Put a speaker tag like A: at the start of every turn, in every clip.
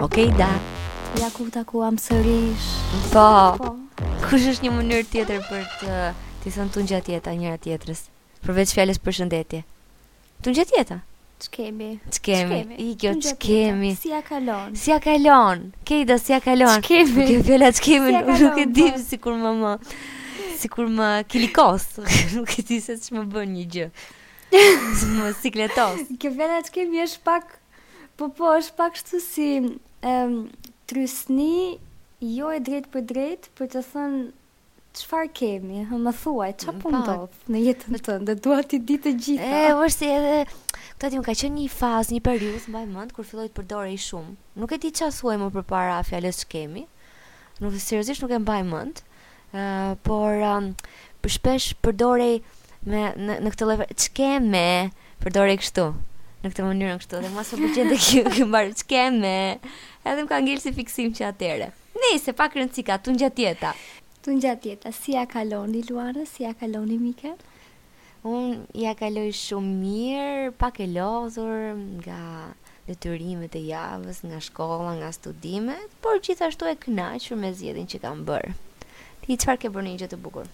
A: Okej, da.
B: Ja ku takuam sërish.
A: Po.
B: Po.
A: Kush është një mënyrë tjetër për të të thënë tunxha tjeta njëra tjetrës, përveç fjalës përshëndetje. Tunxha tjeta.
B: Çkemi.
A: Ç'kemi?
B: Çkemi.
A: I kjo
B: Unë gjatë
A: ç'kemi.
B: ditës. Si ja kalon?
A: Si ja kalon? Kejda si ja kalon?
B: Ç'kemi?
A: Kjo fjala ç'kemi,
B: Si ja
A: nuk e
B: kalon,
A: di
B: po?
A: sikur më më sikur më kilikos. nuk e di se ç'më bën një gjë. Si më sikletos.
B: Kjo fjala çkemi është pak po po është pak kështu si ëm trysni jo e drejt për drejt për të thënë çfarë kemi, hë, më thuaj, çfarë po
A: Po.
B: ndodh në jetën tënde? Dua ti di të gjitha.
A: E, është si edhe këtë ti më ka qenë një fazë, një periudhë mbaj mend kur filloi të përdorej shumë. Nuk e di çfarë thuaj më përpara fjalës ç'kemi. Nuk seriozisht nuk e mbaj mend. Ë, por um, për shpesh përdorej me në, në këtë lloj ç'keme, përdorej kështu në këtë mënyrë kështu dhe mos më pëlqente kjo kjo mbar ç'keme. Edhe më ka ngel si fiksim që atëre. Nëse pak rëndësi ka tu gjatë jeta.
B: Tu gjatë jeta, si ja kaloni Luana, si ja kaloni Mika?
A: Unë ja kaloj shumë mirë, pak e lodhur nga detyrimet e javës, nga shkolla, nga studimet, por gjithashtu e kënaqur me zgjedhjen që kam bërë. Ti çfarë ke bërë një gjë të bukur?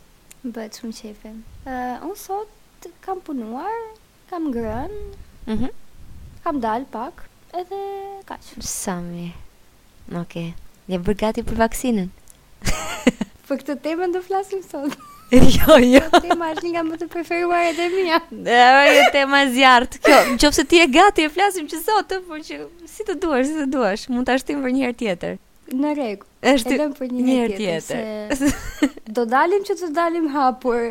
B: Bëhet shumë qefe. Uh, unë sot kam punuar, kam ngrënë,
A: Mhm.
B: kam dal pak, edhe kaq.
A: Sa mirë. Okej. Je bërë gati për vaksinën?
B: Për Po këtë temën do flasim sot.
A: jo, jo.
B: Kjo tema është një nga më të preferuaret e mia.
A: Ai e tema zjarrt. Kjo, nëse ti je gati e flasim që sot, ë, por që si të duash, si të duash, mund ta shtim për një herë tjetër.
B: Në rregull.
A: Është
B: E lëm për një herë tjetër, se do dalim që të dalim hapur.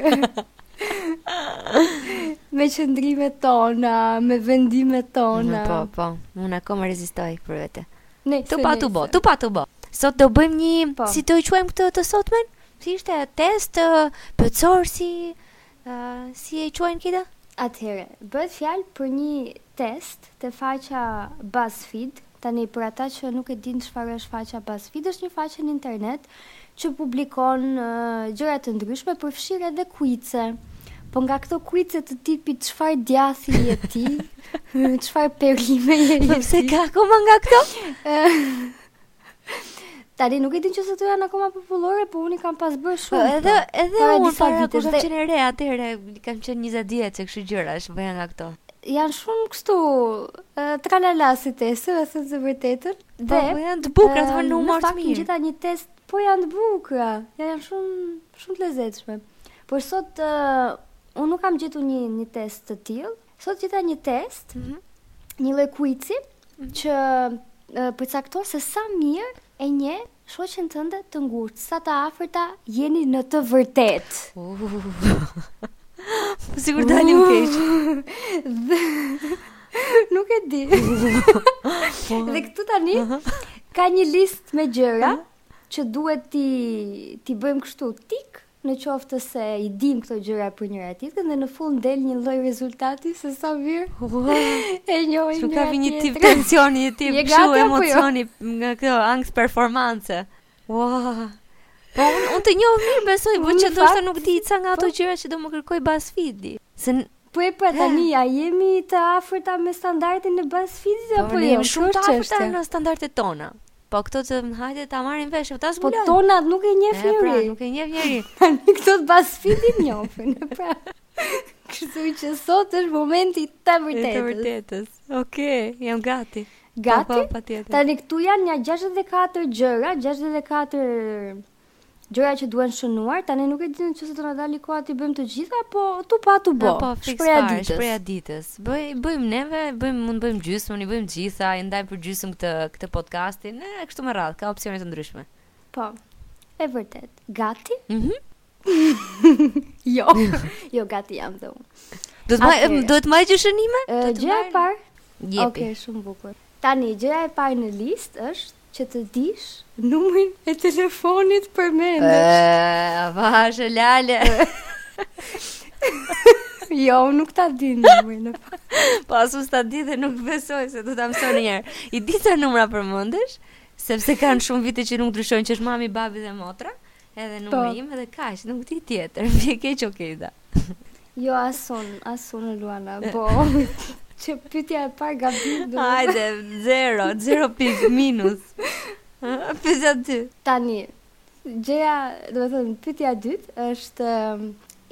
B: me qëndrimet tona, me vendimet tona.
A: Po, po. Unë akoma rezistoj për vete.
B: Nejse,
A: Tu pa tu bo,
B: nejse.
A: tu pa tu bo. Sot do bëjmë një,
B: Po.
A: si do i quajmë këtë të sotmen? Si ishte test ë, plotësor si ë, si e quajnë këta?
B: Atëhere, bëhet fjalë për një test të faqa BuzzFeed. Tani për ata që nuk e dinë çfarë është faqa BuzzFeed, është një faqe në internet që publikon uh, gjëra të ndryshme, përfshirë edhe quize. Po nga këto quize të tipit çfarë djathi je ti, Hm, çfarë perime je
A: Po
B: je
A: pse
B: ti.
A: ka akoma nga këto?
B: Tani nuk e din që se të janë akoma popullore, po unë i kam pas bërë
A: Po
B: shumë.
A: edhe edhe
B: Para
A: unë
B: disa
A: para kur
B: vitesh
A: kam
B: dhe-
A: qenë e re atëherë kam qenë 20 vjeç e kështu gjëra, është bëja nga këto.
B: janë shumë kështu uh, tralala si teste, me thënë të vërtetën.
A: Po po janë të bukura, të
B: Ëm,
A: vënë në humor
B: Në
A: të
B: fakt
A: mirë.
B: ngjita një test, po janë të bukura. Ja, janë shumë shumë të lezetshme. Por sot ë, unë nuk kam gjetur një një test të tillë. Sot gjeta një test,
A: Mhm.
B: një lloj quizi që ë, përcakton se sa mirë e nje shoqen tënde të ngurtë, sa të afërta jeni në të vërtetë.
A: Po sigur dalim keq.
B: Nuk e di. Dhe këtu tani ka një listë me gjëra që duhet ti ti bëjmë kështu tik në qoftë se i dim këto gjëra për njëra tjetrën dhe në fund del një lloj rezultati se sa mirë e njohim
A: Shumë ka
B: njëra
A: vi një tip
B: tjetrën.
A: tensioni, një tip
B: Je
A: kështu
B: gati apo jo?
A: emocioni nga kjo ankth performance. Ua. Po unë un të njoh mirë besoj, po
B: Unë
A: që
B: në
A: ndoshta
B: fakt-
A: nuk di ca nga ato
B: po.
A: gjëra që do më kërkoj BuzzFeed-i. Se n-
B: Po e pra tani a jemi të afërta me standardin e BuzzFeed-it
A: po
B: apo
A: ne
B: jo?
A: jemi shumë
B: Kjo
A: të
B: është
A: afërta
B: çështja.
A: në standardet tona. Po këto të hajde ta marrin vesh, ta
B: Po
A: zbulojmë.
B: tona nuk e njeh
A: E, pra,
B: njëri.
A: nuk e njeh njeri.
B: Tani këto të BuzzFeed-in njohin. Pra. Kështu që sot është momenti i të
A: E të
B: vërtetës.
A: vërtetës. Okej, jam gati.
B: Gati?
A: Po, po, patjetër.
B: Tani këtu janë nja 64 gjëra, 64 gjëra që duhen shënuar. Tani nuk e di nëse do na dali koha ti bëjmë të gjitha, po tu pa tu
A: Po,
B: bo.
A: po, fiks
B: Shpreha
A: fare,
B: ditës.
A: shpreha ditës. Bëj bëjmë neve, bëjmë mund bëjmë gjysmën, i bëjmë gjitha, i ndajmë për gjysmë këtë këtë podcastin, e kështu me radhë, ka opsione të ndryshme.
B: Po. E vërtet. Gati?
A: Mhm.
B: Jo. jo, gati jam dhe unë.
A: Do të maj
B: Atëhere.
A: do të maj gjëshënime?
B: E, Gjëja e parë,
A: Jepi.
B: Okej, shumë bukur. Tani gjëja e parë në listë është që të dish numrin e telefonit për mendë.
A: Ëh, vazhë lale.
B: Jo, unë nuk ta di numrin. në fakt.
A: Pas u Po, sta di dhe nuk besoj se do ta mësoj një herë. I di sa numra përmendesh, sepse kanë shumë vite që nuk ndryshojnë që është mami, babi dhe motra, edhe numri
B: Po.
A: im edhe kaq, nuk di tjetër. Më vjen keq okay da.
B: Jo, asun, asun Luana, po. që pyetja e parë gabim do.
A: Hajde, zero, zero pik, minus. Pyetja ty.
B: Tani, gjëja, do të thënë, pyetja e dytë është ëm,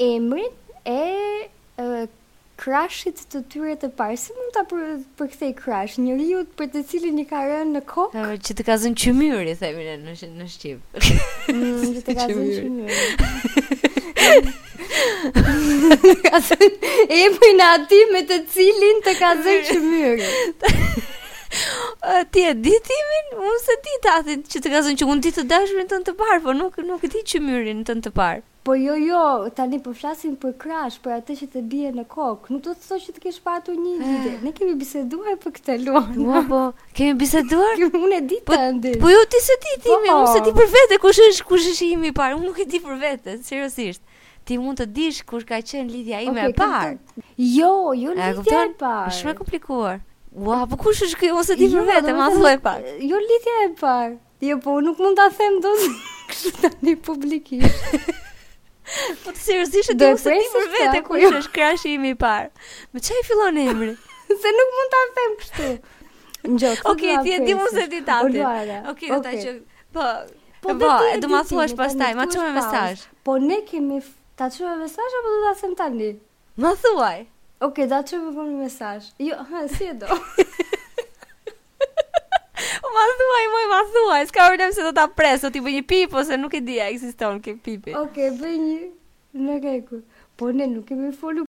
B: emrin e, e krashit të tyre të parë. Si mund ta për, përkthej krash? Njeriu për të cilin i ka rënë në kokë,
A: Ë, Që të ka zënë qymyri, themi ne në sh- në shqip.
B: mm, që të ka
A: Që
B: zënë
A: mirë.
B: shumë. ka zënë emrin e atij me të cilin të ka zënë çmyri.
A: Ë, Ti e di timin? Unë se di tatin që të ka zënë që unë di të dashurin tënd të parë, po nuk nuk e di qymyrin tënd të parë.
B: Po jo jo, tani po flasim për krash, për atë që të bie në kokë. Nuk do të thotë që të kesh patur një
A: Eh.
B: ide. Ne kemi biseduar për këtë
A: Ua,
B: lon.
A: po, kemi biseduar?
B: Kemi unë e di
A: Po-
B: të ndin.
A: Po jo ti se ti timi,
B: Po.
A: unë se di për vete kush është kush është imi i parë. Unë nuk e di për vete, seriozisht. Ti mund të dish kush ka qenë lidhja ime e parë.
B: Jo,
A: E
B: jo lidhja
A: kupton? Po
B: e parë.
A: Është shumë e komplikuar. Ua, po kush është ky? Unë se di për vete,
B: domethënë,
A: ma thuaj pak.
B: Jo lidhja e parë. Jo, po unë nuk mund ta them dot kështu tani publikisht.
A: Po të seriozisht e
B: Do
A: di
B: e
A: unë se di
B: presim
A: për
B: sa,
A: vete
B: po
A: kush
B: jo.
A: është krashi imi i parë. Me çfarë fillon emri?
B: Se nuk mund ta them kështu. Ngjo, këtë
A: Okej,
B: do ta
A: ti e di unë se
B: presësh.
A: di tatin.
B: Oluara,
A: Okej, do ta
B: okej.
A: që po
B: Po
A: Po,
B: dhe ti e
A: do ma
B: di
A: thuash
B: timi,
A: pastaj,
B: tani
A: ma
B: thuash
A: çoj
B: pauzë.
A: mesazh.
B: Po ne kemi f- ta çojmë mesazh apo do ta them tani?
A: Ma thuaj.
B: Okej, ta çojmë vonë me mesazh. Jo, ha, si e do?
A: O, Ma thuaj, moj, ma thuaj. S'ka problem se do ta pres, do t'i bëj një pip ose nuk e di, a ekziston ke pipi.
B: Okej, bëj një në rregull. Po ne nuk kemi folur.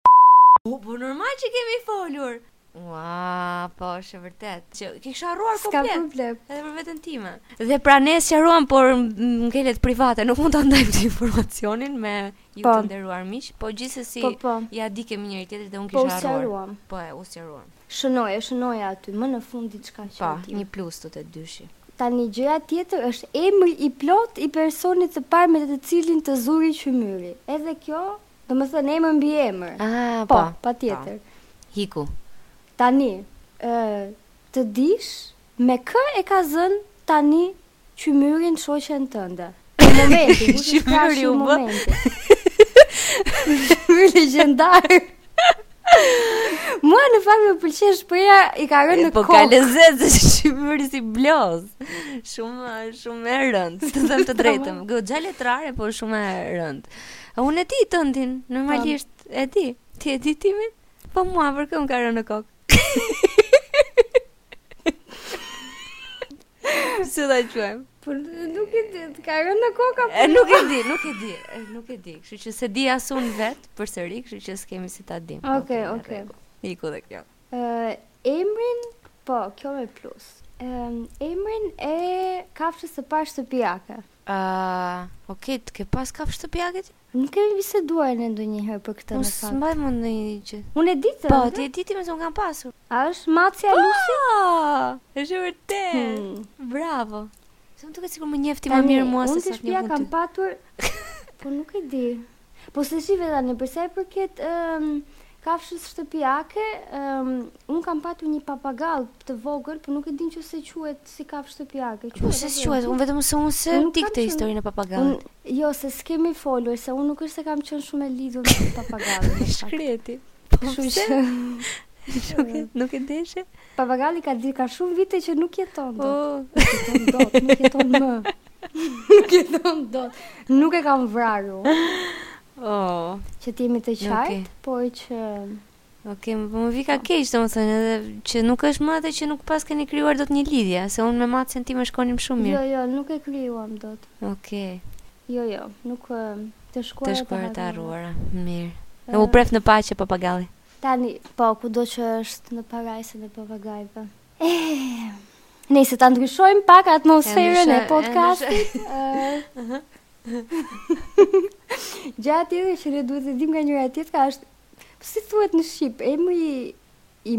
A: Po, po normal që kemi folur. Ua, po është e vërtet. Që ke kisha harruar
B: S'ka
A: komplet.
B: problem.
A: Edhe për veten time. Dhe pra ne sqaruam, por m- ngelet private, nuk mund ta ndajmë këtë informacionin me ju
B: Po.
A: të nderuar miq, po gjithsesi
B: Po, po.
A: ja di kemi njëri tjetrin dhe unë
B: Po u
A: kisha harruar.
B: sqaruam.
A: Po, e, u sqaruam.
B: Shënoja, shënoja aty, më në fund diçka që
A: Po,
B: tim.
A: një plus të të dyshi.
B: Tani gjëja tjetër është emri i plot i personit të parë me të cilin të zuri qymyri. Edhe kjo, domethënë emër mbi emër.
A: Ah,
B: po, patjetër.
A: Hiku.
B: Tani, ë të dish me kë e ka zënë tani qymyrin shoqen tënde. Në momentin, kush është
A: Qymyri
B: krashi i
A: u bë.
B: momentit? Qymyri legjendar. Mua në fakt më pëlqen shpreha i ka rënë
A: E,
B: në
A: Po ka
B: kokë.
A: lezet se shqipëri si bloz. Shumë shumë e rëndë, të them të drejtën. Goxha letrare, po shumë e rëndë. A Unë e di tëndin, normalisht e di. Ti e di timin? Po mua për kë më ka rënë në kokë. Si ta quajmë?
B: Po nuk e di, të ka rënë në kokë apo?
A: E nuk e di, nuk e di, e, nuk e di. Kështu që se di as unë vet përsëri, kështu që s'kemi si ta dim.
B: Okej,
A: Po, në
B: okej.
A: rregull. Iku dhe kjo.
B: Ë, emrin, po, kjo me plus. Ëm, emrin e kafshës së parë shtëpiake.
A: Ah, okej, të ke pas kap shtëpiakët?
B: Nuk kemi biseduar ne ndonjëherë për këtë
A: Unë
B: në fakt.
A: s'mbaj mund në një gjë.
B: Unë e di të.
A: Po, ti e diti me se unë kam pasur.
B: A është macja e Lusit?
A: është e vërtet.
B: Hmm.
A: Bravo. Se më duket sikur më njefti më mirë mua se
B: unë të
A: sa të
B: shtëpia
A: njeh unë.
B: kam
A: ty.
B: patur, po nuk e di. Po se shive tani, përsa i përket um, kafshës shtëpiake, um, unë kam patur një papagall të vogël, po nuk e din që se quhet si kafshë shtëpiake.
A: Po se quhet, unë vetëm se unë se
B: Unë nuk
A: di
B: kam
A: këtë
B: qenë-
A: historinë e papagallit.
B: Unë, jo, se s'kemi folur, se unë nuk është se kam qenë shumë e lidhur me papagallin. në fakt.
A: Shkreti. Po,
B: Kështu
A: pse?
B: që
A: Nuk e- nuk e deshe?
B: papagalli ka di ka shumë vite që nuk jeton
A: Po.
B: dot. Nuk jeton dot, nuk jeton më. Nuk jeton dot. Nuk e kam vrarë. unë.
A: Oh.
B: që të jemi të qartë,
A: Okej.
B: por që
A: Okej, më- po më vi ka keq domethënë edhe që nuk është më atë që nuk pas keni krijuar dot një lidhje, se unë me Macen tim e shkonim shumë
B: jo
A: mirë.
B: jo, nuk e krijuam dot.
A: Okej.
B: Jo jo, nuk ë,
A: Të
B: të shkuara
A: shkuara të
B: harruara.
A: harruara. Mirë.
B: Ë,
A: U pref në paqe papagalli.
B: Tani, po kudo që është në parajsën e papagajve. Eh, Nëse ta ndryshojmë pak atmosferën
A: E
B: Po, e
A: ndryshe-
B: podcastit. ë, Gjatë tjetër që ne duhet të dim nga njëra tjetra është si thuhet në shqip, emri i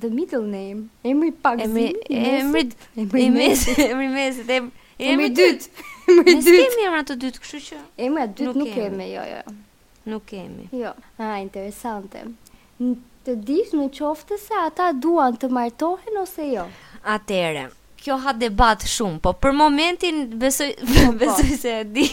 B: the middle name, emri pak
A: Emri emri
B: emri
A: emri mesit, emri mesit, em-
B: emri
A: emri dytë.
B: dytë, emri
A: Ne
B: dytë.
A: kemi emra të dytë, kështu që
B: Emra dytë
A: Nuk
B: nuk
A: kemi.
B: kemi, jo, jo.
A: nuk kemi.
B: Jo. Ah, interesante. N- Të dish në qoftë se ata duan të martohen ose jo.
A: Atëre, kjo ha debat shumë, po për momentin besoj
B: Po,
A: besoj se e di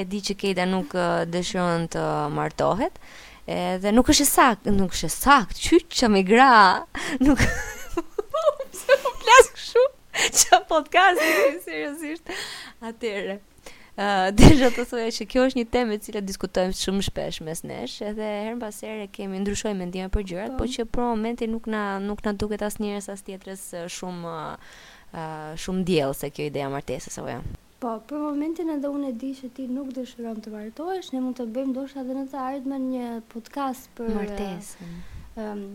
A: e di që Kejda nuk ë, dëshiron të martohet. Edhe nuk është e sakt, nuk është e sakt. Qyç që me gra. Nuk pse po flas kështu? Ç'a podcast seriozisht. Atëre. Uh, Desha të thoja që kjo është një temë e cila diskutojmë shumë shpesh mes nesh, edhe her mbas here kemi ndryshojmë mendime për gjërat, po që për momentin nuk na nuk na duket as njerëz as tjetrës uh, shumë uh, uh, shumë diell se kjo ideja e martesës apo jo.
B: Po, për momentin edhe unë e di që ti nuk dëshiron të martohesh, ne mund të bëjmë ndoshta edhe në të ardhmen një podcast për
A: Martesën.
B: ëm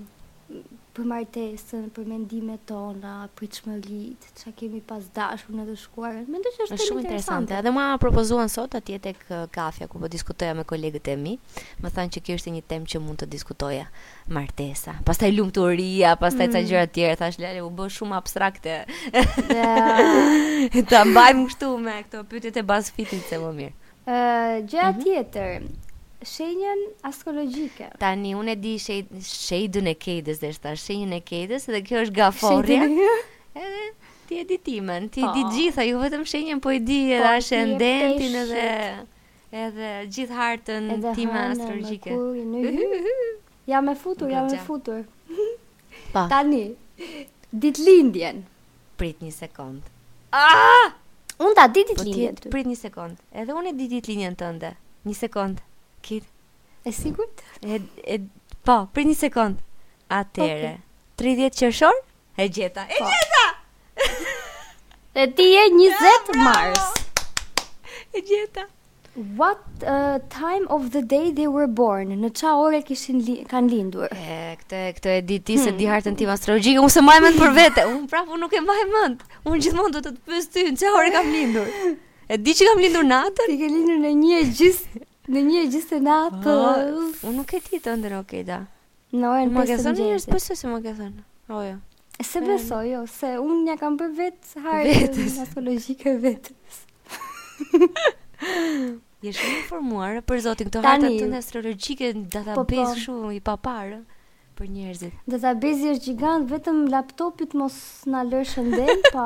B: për martesën, për mendimet tona, për çmëritë, çka kemi pas dashur në të shkuarën. Mendoj që është
A: Është shumë interesante. Edhe ma propozuan sot atje tek uh, kafja ku po diskutoja me kolegët e mi, më thanë që kjo është një temë që mund të diskutoja, martesa. Pastaj lumturia, pastaj ca gjëra të tjera, thash Lale, u bë shumë abstrakte.
B: Dhe,
A: Ta mbajmë kështu me këto pyetjet e BuzzFeed-it se më mirë.
B: ë, gjëja tjetër, shenjën astrologjike.
A: Tani unë e di shade- shade-ën e Kedës, dhe shta shenjën e Kedës dhe kjo është gaforrja. Edhe ti e di timen, ti e di
B: Po.
A: gjitha, ju vetëm shenjën po e di edhe
B: Po, ti
A: ascendentin
B: je
A: edhe edhe gjithë hartën time Mm, astrologjike.
B: astrologjike. Jam e futur, jam e
A: Goxha.
B: futur.
A: Pa,
B: Tani, ditëlindjen.
A: prit një sekond.
B: Unë ta di
A: Po ti
B: ditëlindjen. ty.
A: prit një sekond. Edhe unë e di ditë linjën tënde. Një sekond. Kit.
B: E sigurt?
A: E, e po, prit një sekond. Atëre. 30 qershor? E gjeta. E
B: Po.
A: gjeta.
B: Dhe ti je 20
A: Bravo!
B: Mars.
A: E gjeta.
B: What uh, time of the day they were born? Në qa ore kishin li kanë lindur?
A: E, këtë, këtë e di ti se di hartën tim astrologjike, unë se mbaj mend për vete. Unë prapë unë nuk e mbaj mend. Unë gjithmonë do të të pyes ty, në çfarë ore kam lindur? E di që kam lindur natën? Po,
B: Ti ke lindur në një e gjysë në një e gjysë të natës.
A: Unë nuk e di të ndër okejda.
B: Në orën
A: Më
B: 5
A: ke
B: të
A: thënë njerëz
B: mëngjesit.
A: pse se më ke thënë. O jo.
B: Se besoj, jo, se unë ja kam bërë vetë hartën
A: Vetës.
B: astrologjike vetës.
A: Je shumë informuar për zotin këto
B: Tani.
A: hartat tënde astrologjike në database
B: po.
A: kështu i paparë për njerëzit.
B: Database është gjigant, vetëm laptopit mos na lër shëndel, pa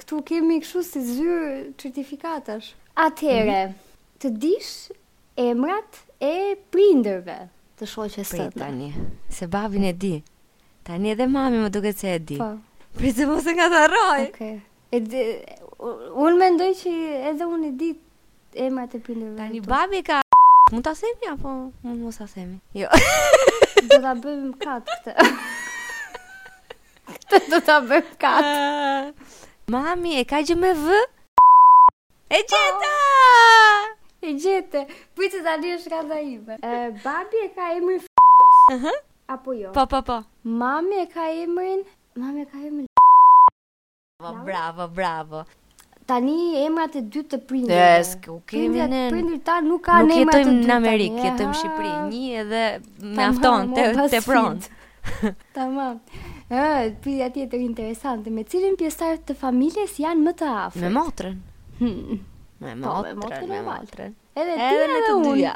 B: këtu kemi kështu si zyrë certifikatash. Atëherë, të dish emrat e prindërve të shoqes
A: Prit
B: tënde.
A: tani, se babin e di. Tani edhe mami më duket se e di.
B: Po.
A: Prit se mos e ngatarroj.
B: Okej. E di- u- unë mendoj që edhe unë e di emrat e prindërve.
A: Tani
B: tu.
A: babi ka Mund ta themi apo mund mos ta themi? Jo.
B: do ta bëjmë kat këtë. këtë do ta bëjmë kat.
A: Mami e ka gjë me v? E gjeta!
B: E gjete. Pritë tani është kata ime. E, babi e ka emrin f***s. Apo jo?
A: Po, po, po.
B: Mami e ka emrin... Mami e ka emrin...
A: Po, bravo, bravo.
B: Tani emrat e dy të prindërve.
A: Yes, ku kemi
B: Prindërat-
A: ne.
B: Prindërit tan nuk kanë
A: Nuk
B: emrat e dy.
A: jetojmë në
B: tani,
A: Amerikë, jetojmë në
B: aha.
A: Shqipëri. Një edhe
B: Tamam,
A: mjafton te
B: o, pas
A: te pron.
B: fit. Tamam. Ë, pyetja tjetër interesante, me cilin pjesëtar të familjes janë më të afërt?
A: Me motrën.
B: Hmm.
A: Me
B: Po, me
A: motrën,
B: motrën
A: me
B: e vallë.
A: motrën.
B: Edhe ti
A: Edhe
B: edhe,
A: me të
B: unë.
A: dyja.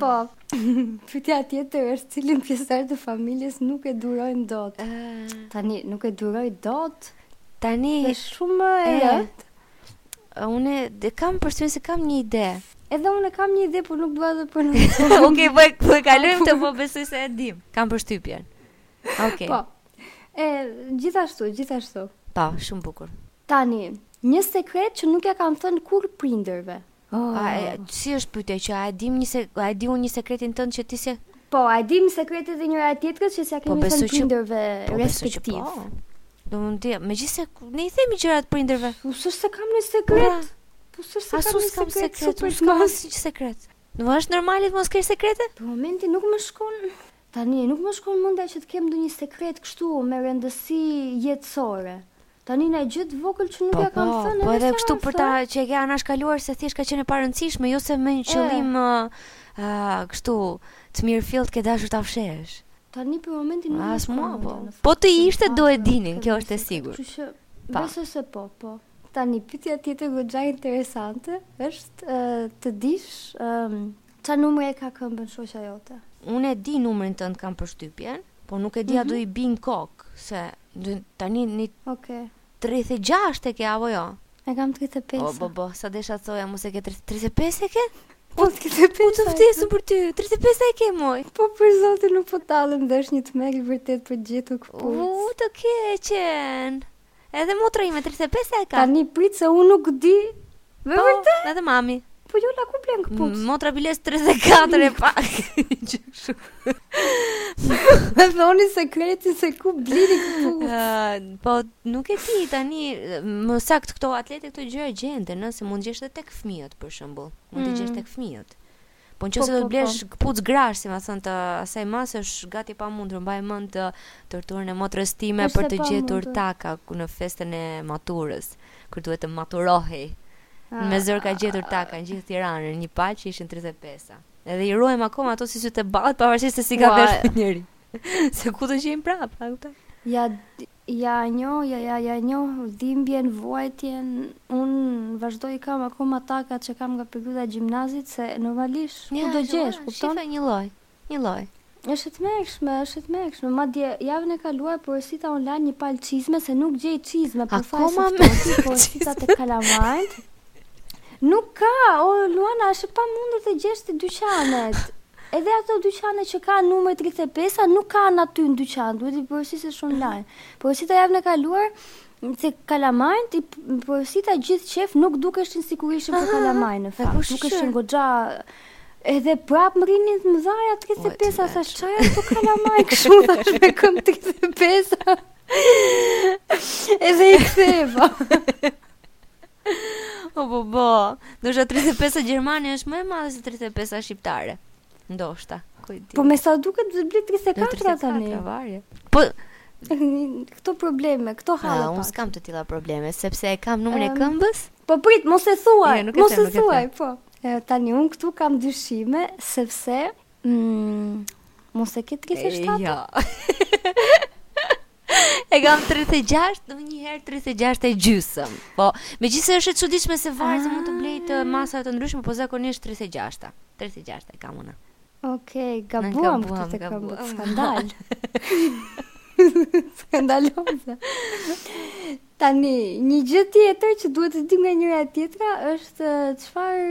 B: Po. Pyetja tjetër është cilin pjesëtar të familjes nuk e durojnë dot.
A: Ë,
B: Tani nuk e duroj dot.
A: Tani
B: Është shumë e
A: E.
B: rëndë.
A: unë e kam përshtypjen se kam një ide.
B: Edhe unë kam një ide, por nuk dua të përnoj.
A: Okej, po e- po e kalojmë të po besoj se e dim. Kam përshtypjen. Okej.
B: Po. E gjithashtu, gjithashtu.
A: Po, shumë bukur.
B: Tani, një sekret që nuk ja kam thënë kur prindërve. Oh.
A: A, e, si është pyetja që a e dim një se, a e di unë një sekretin tënd që ti se
B: Po, a dim sekretet e njëra tjetrës që s'ja
A: Po,
B: kemi po,
A: besoj
B: thënë
A: që-
B: prindërve
A: besoj që
B: respektiv. Po,
A: Do mund të, megjithëse ku- ne i themi gjërat prindërve.
B: Po, s'është se kam në sekret. Po, s'është se
A: Asu
B: kam në
A: s'kam sekret,
B: sekret, super
A: unë s'kam
B: smart.
A: asnjë sekret. Nuk është normale të mos kesh sekrete?
B: Për momentin Po, nuk më shkon... Tani, nuk më shkon mendja që të kem ndonjë sekret kështu me rëndësi jetësore. Tani na e gjithë vogël që nuk ja kam thënë.
A: po
B: edhe
A: edhe
B: s'ja
A: kështu
B: kam
A: për ta
B: thënë.
A: që e ke anashkaluar se thjesht ka qenë e parëndësishme, jo se me një qëllim ë ë, kështu të mirë fillt ke dashur ta fshesh.
B: Tani për momentin nuk
A: As
B: shkon
A: mua,
B: mendja
A: po.
B: në fakt
A: Po të
B: se
A: ishte,
B: kam
A: do e
B: thënë
A: dinin,
B: këtë
A: kjo është e
B: sekret,
A: sigurt.
B: Kështu që
A: Pa.
B: besoj se po, po. Tani pyetja tjetër goxha interesante është ë, të dish ëm ç'a numër e ka këmbën shoqja jote.
A: Unë e di numrin tënd kam përshtypjen, po nuk e di
B: Mhm.
A: a do i bin kok se do- tani një
B: Okej.
A: 36 e ke apo jo?
B: E kam 35.
A: O, bo, bo, sa desha të thoja, mos e ke 30 35 e ke?
B: Po të këtë
A: Po të ftesën për ty. 35 e ke moj.
B: Po për zotin nuk po tallem dhe është një tmeg i vërtet për gjithë u
A: U,
B: këpuc.
A: të keqen. Edhe motra ime 35 e ka.
B: Tani prit se unë nuk di. Me
A: Po,
B: vërtet?
A: Edhe mami.
B: Po jola ku blen këpuc?
A: Motra biles 34 e pak. Gjë kështu. Mm.
B: Më thoni sekretin se ku blini këpuc.
A: Ë, po nuk e di tani më sakt këto atlete këto gjëra gjenden, ëh, se mund gjesh edhe tek fëmijët për shembull. Mund të gjesh
B: Mm.
A: tek fëmijët. Po nëse
B: Po,
A: do të
B: po,
A: blesh kpuc grash, si më thon të asaj mase është gati e pamundur, mbaj mend të torturën e motrës time
B: Është
A: për
B: e
A: të gjetur
B: pamundur.
A: taka ku në festën e maturës, kur duhet të maturohej.
B: Ah.
A: Ah. Me zor ka gjetur taka në gjithë Tiranën, një paqë ishin 35-a. Edhe i ruajm akoma ato si sytë e ballat pavarësisht se si ka
B: Ua.
A: veshur njëri. Se ku do qejm prapë, a kupton?
B: Ja ja njo, ja ja ja njo, dhimbjen, vuajtjen, un vazhdoj kam akoma taka që kam nga perioda e gjimnazit se normalisht ku do gjesh, kupton?
A: Shifa një lloj, një lloj.
B: Është e tmerrshme, është e tmerrshme. Madje javën e kaluar poresita online një palë çizme se nuk gjej po çizme për fajs
A: Akoma me
B: ftohti, poresita te kalamajt. Nuk ka, o Luana, është e pamundur të gjesh te dyqanet. Edhe ato dyqane që kanë numër 35-a nuk kanë aty në dyqan, duhet i poresitësh online. Poresita javën e kaluar se kalamajt, i p- poresita gjithë qef nuk dukeshin sigurisht për
A: Aha,
B: kalamajnë, në
A: Ah, e po
B: fakt,
A: kush
B: dukeshin
A: shë?
B: goxha Edhe prap më rinin të mëdhaja 35-a,
A: vetë.
B: thash çfarë janë këto kalamaj po kështu thash me këm 35-a. Edhe i ktheva.
A: O po po. Do 35-a Gjermania është më e madhe se 35-a shqiptare. Ndoshta. Ku e di.
B: Po me sa duket do të bli
A: Në
B: 34 tani.
A: 34-a varje. Po,
B: Këto probleme, këto
A: ah,
B: halla
A: unë
B: pak.
A: s'kam të tilla probleme sepse e kam numrin e
B: Em,
A: këmbës.
B: Po prit, mos e thuaj,
A: Jo, nuk e
B: mos
A: them,
B: e
A: nuk e
B: thuaj, po. E, Tani unë këtu kam dyshime sepse mm, mos e ke 37.
A: Ja. e kam 36, do një herë 36 e gjysëm. Po, megjithëse është e çuditshme se varzi mund të blej të masa të ndryshme, po zakonisht 36-a. 36 e kam unë.
B: Okej, gabuam
A: gabuam,
B: këtë të këmbë,
A: gabuam.
B: skandal. Skandaloze. Tani, një gjë tjetër që duhet të dim nga njëra e tjetra është eh, çfarë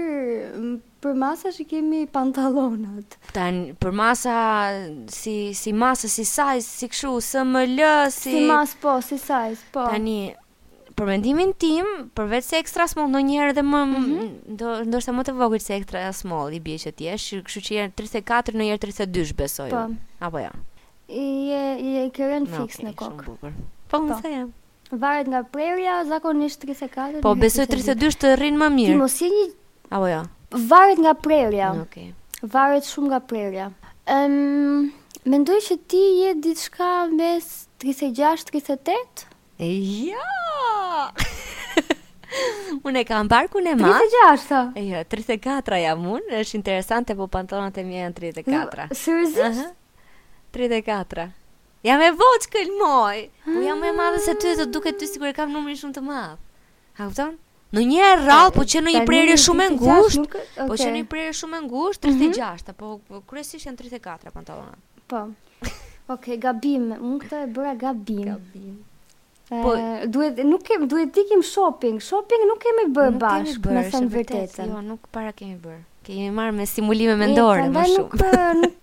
B: m, për masash i kemi pantallonat.
A: Tan për masa si si masa si size, si kështu SML, si,
B: Si, mas po, si size, po.
A: tani për mendimin tim, përveç se extra small ndonjëherë edhe më
B: Mhm.
A: do ndoshta më të vogël se extra small i bie që ti jesh, kështu që janë 34 në herë 32 besoj.
B: Po.
A: unë. Apo jo.
B: I je i je ke rënë
A: Në,
B: fiks
A: okay,
B: në
A: shumë
B: kokë.
A: bukur. Po unë
B: Po.
A: se jam.
B: Varet nga prerja, zakonisht 34.
A: Po
B: në
A: besoj
B: 32.
A: 32 të rrin më
B: Ti
A: mirë.
B: mos je një
A: Apo jo.
B: varet nga prerja.
A: Okej.
B: Varet shumë nga prerja. Ëm, mendoj që ti je diçka mes 36-38?
A: E ja. unë e kam barkun e madh.
B: 36-a.
A: Jo, 34 jam unë, është interesante, po pantonat e mia janë 34.
B: Jo. Seriozisht?
A: Aha. 34. Jam e voçkël moj.
B: Ah.
A: Po jam më e madhe se ty, do duket ty sikur e kam numrin shumë të madh. A kupton? Në një herë rradh, po që në një
B: Tani
A: prerje shumë e
B: 36
A: ngushtë.
B: nuk- Mhm.
A: Po që
B: okay.
A: në një prerje shumë e ngushtë, 36, po po kryesisht janë 34 pantallonat.
B: Po. Okej, gabim. Unë këtë e bëra gabim.
A: Gabim.
B: E,
A: Po-
B: duhet nuk kem duhet ti kim shopping. Shopping nuk kemi bërë
A: Nuk kemi
B: Po bashkë,
A: bërë,
B: me thënë
A: është e vërtetë,
B: vërtetën.
A: Jo, nuk para kemi bërë. Kemi marrë me simulime mendore
B: E,
A: më
B: prandaj
A: shumë.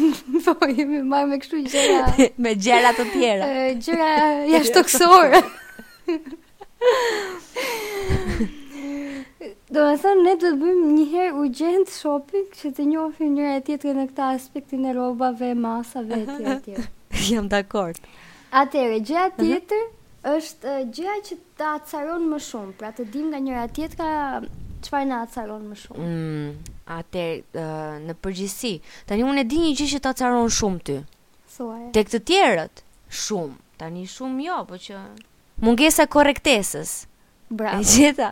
B: Nuk, nuk po jemi marrë me kështu gjëra
A: me gjëra të tjera.
B: e, gjëra jashtëtoksore. Do të thënë ne do të bëjmë një herë urgjent shopping që të njohim njëra e tjetrën në këtë aspektin e rrobave, masave etj etj.
A: Jam dakord.
B: Atëherë, gjëja tjetër është e, gjëja që ta acaron më shumë, pra të dim nga njëra tjetra çfarë na acaron më shumë.
A: Mm, atë në përgjithësi, tani unë e di një gjë që ta caron shumë ty.
B: Thuaj.
A: Tek të tjerët, shumë. Tani shumë jo, po që mungesa e korrektesës. E
B: Bravo.
A: gjeta.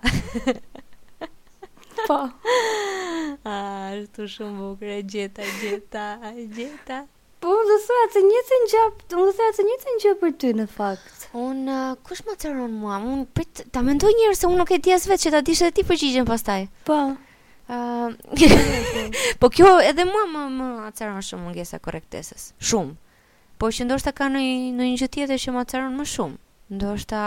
B: Po.
A: Ah, është shumë bukur, e gjeta, e gjeta, e gjeta.
B: Po unë do thoya të njëjtën gjë, unë do thoya të njëjtën gjë për ty në fakt.
A: Unë, uh, kush më caron mua? Unë prit, ta mendoj njërë se unë nuk e di as vetë që ta dishtë dhe ti përgjigjen pastaj.
B: Po.
A: Uh, po kjo edhe mua më, më acaron shumë mungesa e korrektesës. Shumë. Po që ndoshta ka në një gjë tjetër që më acaron më shumë. Ndoshta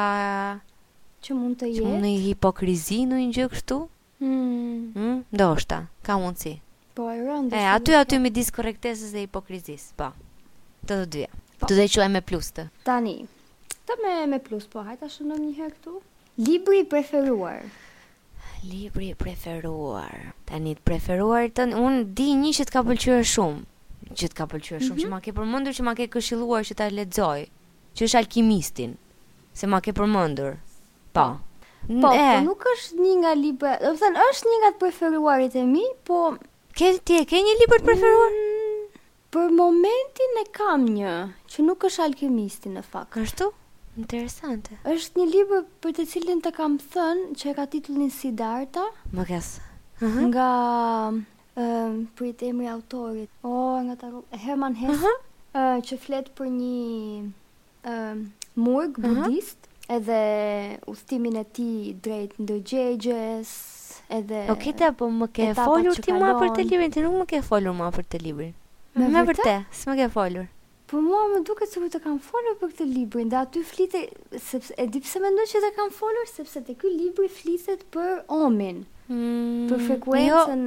B: Që mund të
A: që
B: jetë.
A: në hipokrizi në një gjë kështu.
B: Hmm,
A: Hm, ndoshta, ka mundësi.
B: po e rëndë.
A: E, aty aty midis korrektesës dhe hipokrizisë, po. Të të dyja.
B: Po.
A: Të dhe quaj me plus të.
B: Tani, ta me, me plus, po hajta shënëm një herë këtu. Libri i preferuar.
A: Mm, Libri i preferuar. Tani të preferuar tën, unë di një që të ka pëlqyer shumë, që të ka pëlqyer shumë, që ma ke përmendur që ma ke këshilluar që ta lexoj, që është Alkimistin, se ma ke përmendur. Po.
B: Po, po nuk është një nga libra, do të thënë është një nga të preferuarit e mi, po
A: ke ti e ke një libër të preferuar?
B: Mm, Për momentin e kam një, që nuk është alkimisti në fakt.
A: Kështu? Interesante.
B: Është një libër për të cilin të kam thënë që e ka titullin Siddhartha
A: Më kes. Aha.
B: nga ëm prit emri i autorit. O, nga ta Herman Hesse,
A: Aha.
B: ë, që flet për një ëm murg
A: Aha.
B: budist edhe udhtimin e tij drejt ndërgjegjes, edhe
A: O kita po më ke
B: etapat
A: folur
B: që
A: ti më për të
B: kalon.
A: librin, ti nuk më ke folur më për të librin.
B: Me
A: Me
B: vërtet?
A: vërtet, s'më ke folur.
B: Po mua më duket sikur të kam folur për këtë librin, dhe aty flite sepse e di pse mendoj që të kam folur sepse te ky libri flitet për omin,
A: Mm,
B: për
A: Jo,
B: frekuencën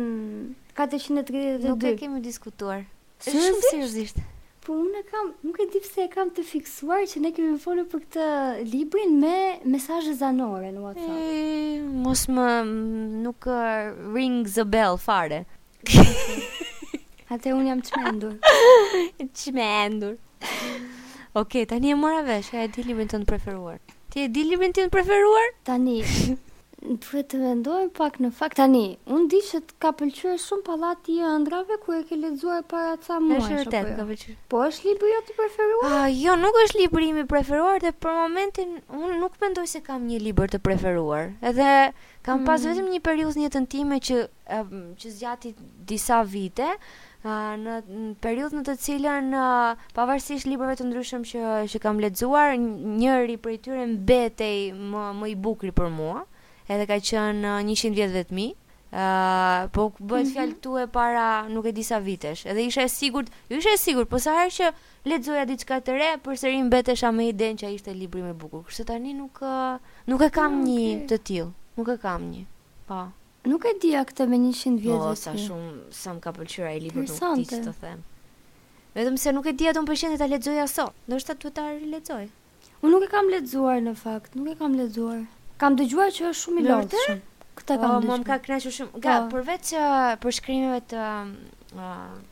B: 432.
A: nuk e kemi diskutuar. Është Shumë
B: Seriozisht?
A: seriozisht.
B: Po unë e kam, nuk e di pse e kam të fiksuar që ne kemi folur për këtë librin me mesazhe zanore në WhatsApp.
A: E, mos më m, nuk ë, ring the bell fare.
B: Atë unë jam çmendur.
A: Çmendur. Okej, tani e mora vesh, a e di librin tënd të preferuar? Ti e di librin tënd të preferuar?
B: Tani duhet të mendoj pak në fakt tani. Unë di që të ka pëlqyer shumë pallati i ëndrave kur e ke lexuar para ca muajsh.
A: Është vërtet,
B: apo jo?
A: ka pëlqyer.
B: Po është libri jo të preferuar?
A: Ah, jo, nuk është libri im i preferuar dhe për momentin unë nuk mendoj se kam një libër të preferuar. Edhe kam pas
B: Mm.
A: vetëm një periudhë në jetën time që em, që zgjati disa vite, ah, në në periudhë në të cilën ah, pavarësisht librave të ndryshëm që që kam lexuar, n- njëri prej tyre mbetej më më i bukri për mua, edhe ka qenë ah, 100 vjetëve të mi. Uh, po k- bëhet fjalë këtu e para nuk e disa vitesh. Edhe isha e sigurt, jo isha e sigurt, po sa herë që lexoja diçka të re, përsëri mbetesha me idenë që ai ishte libri më i bukur. Kështu tani nuk ë, nuk e kam
B: Ah,
A: një
B: okay.
A: të tillë. Nuk e kam një. Po.
B: Nuk e dija këtë me 100 vjetë.
A: Jo, sa shumë sa më ka pëlqyer ai libër, nuk di
B: Interesante.
A: ç'të them. Vetëm se nuk e di atë unë pëlqen ta lexoja sot. Ndoshta duhet ta rilexoj.
B: Unë nuk e kam lexuar në fakt, nuk e kam lexuar. Kam dëgjuar që është shumë i
A: Me vërtet?
B: lodhshëm. Këtë
A: Po,
B: kam
A: mua
B: dëgjuar.
A: më ka kënaqur shumë. Ka
B: Po.
A: përveç ë, për shkrimeve të ë,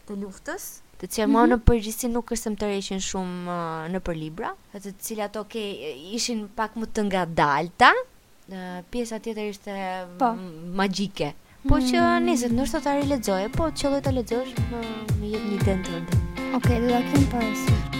A: të luftës, të cilat
B: Mhm.
A: mua në përgjithësi nuk është se më tërheqin shumë ë, në për libra, të cilat okay ishin pak më të ngadalta. ë, Pjesa tjetër ishte m-
B: Po. Mhm.
A: magjike. Po që nëse ndoshta ta rilexoje, po qëlloj ta lexosh më më jep një iden tënde.
B: Okej, do ta kem parasysh.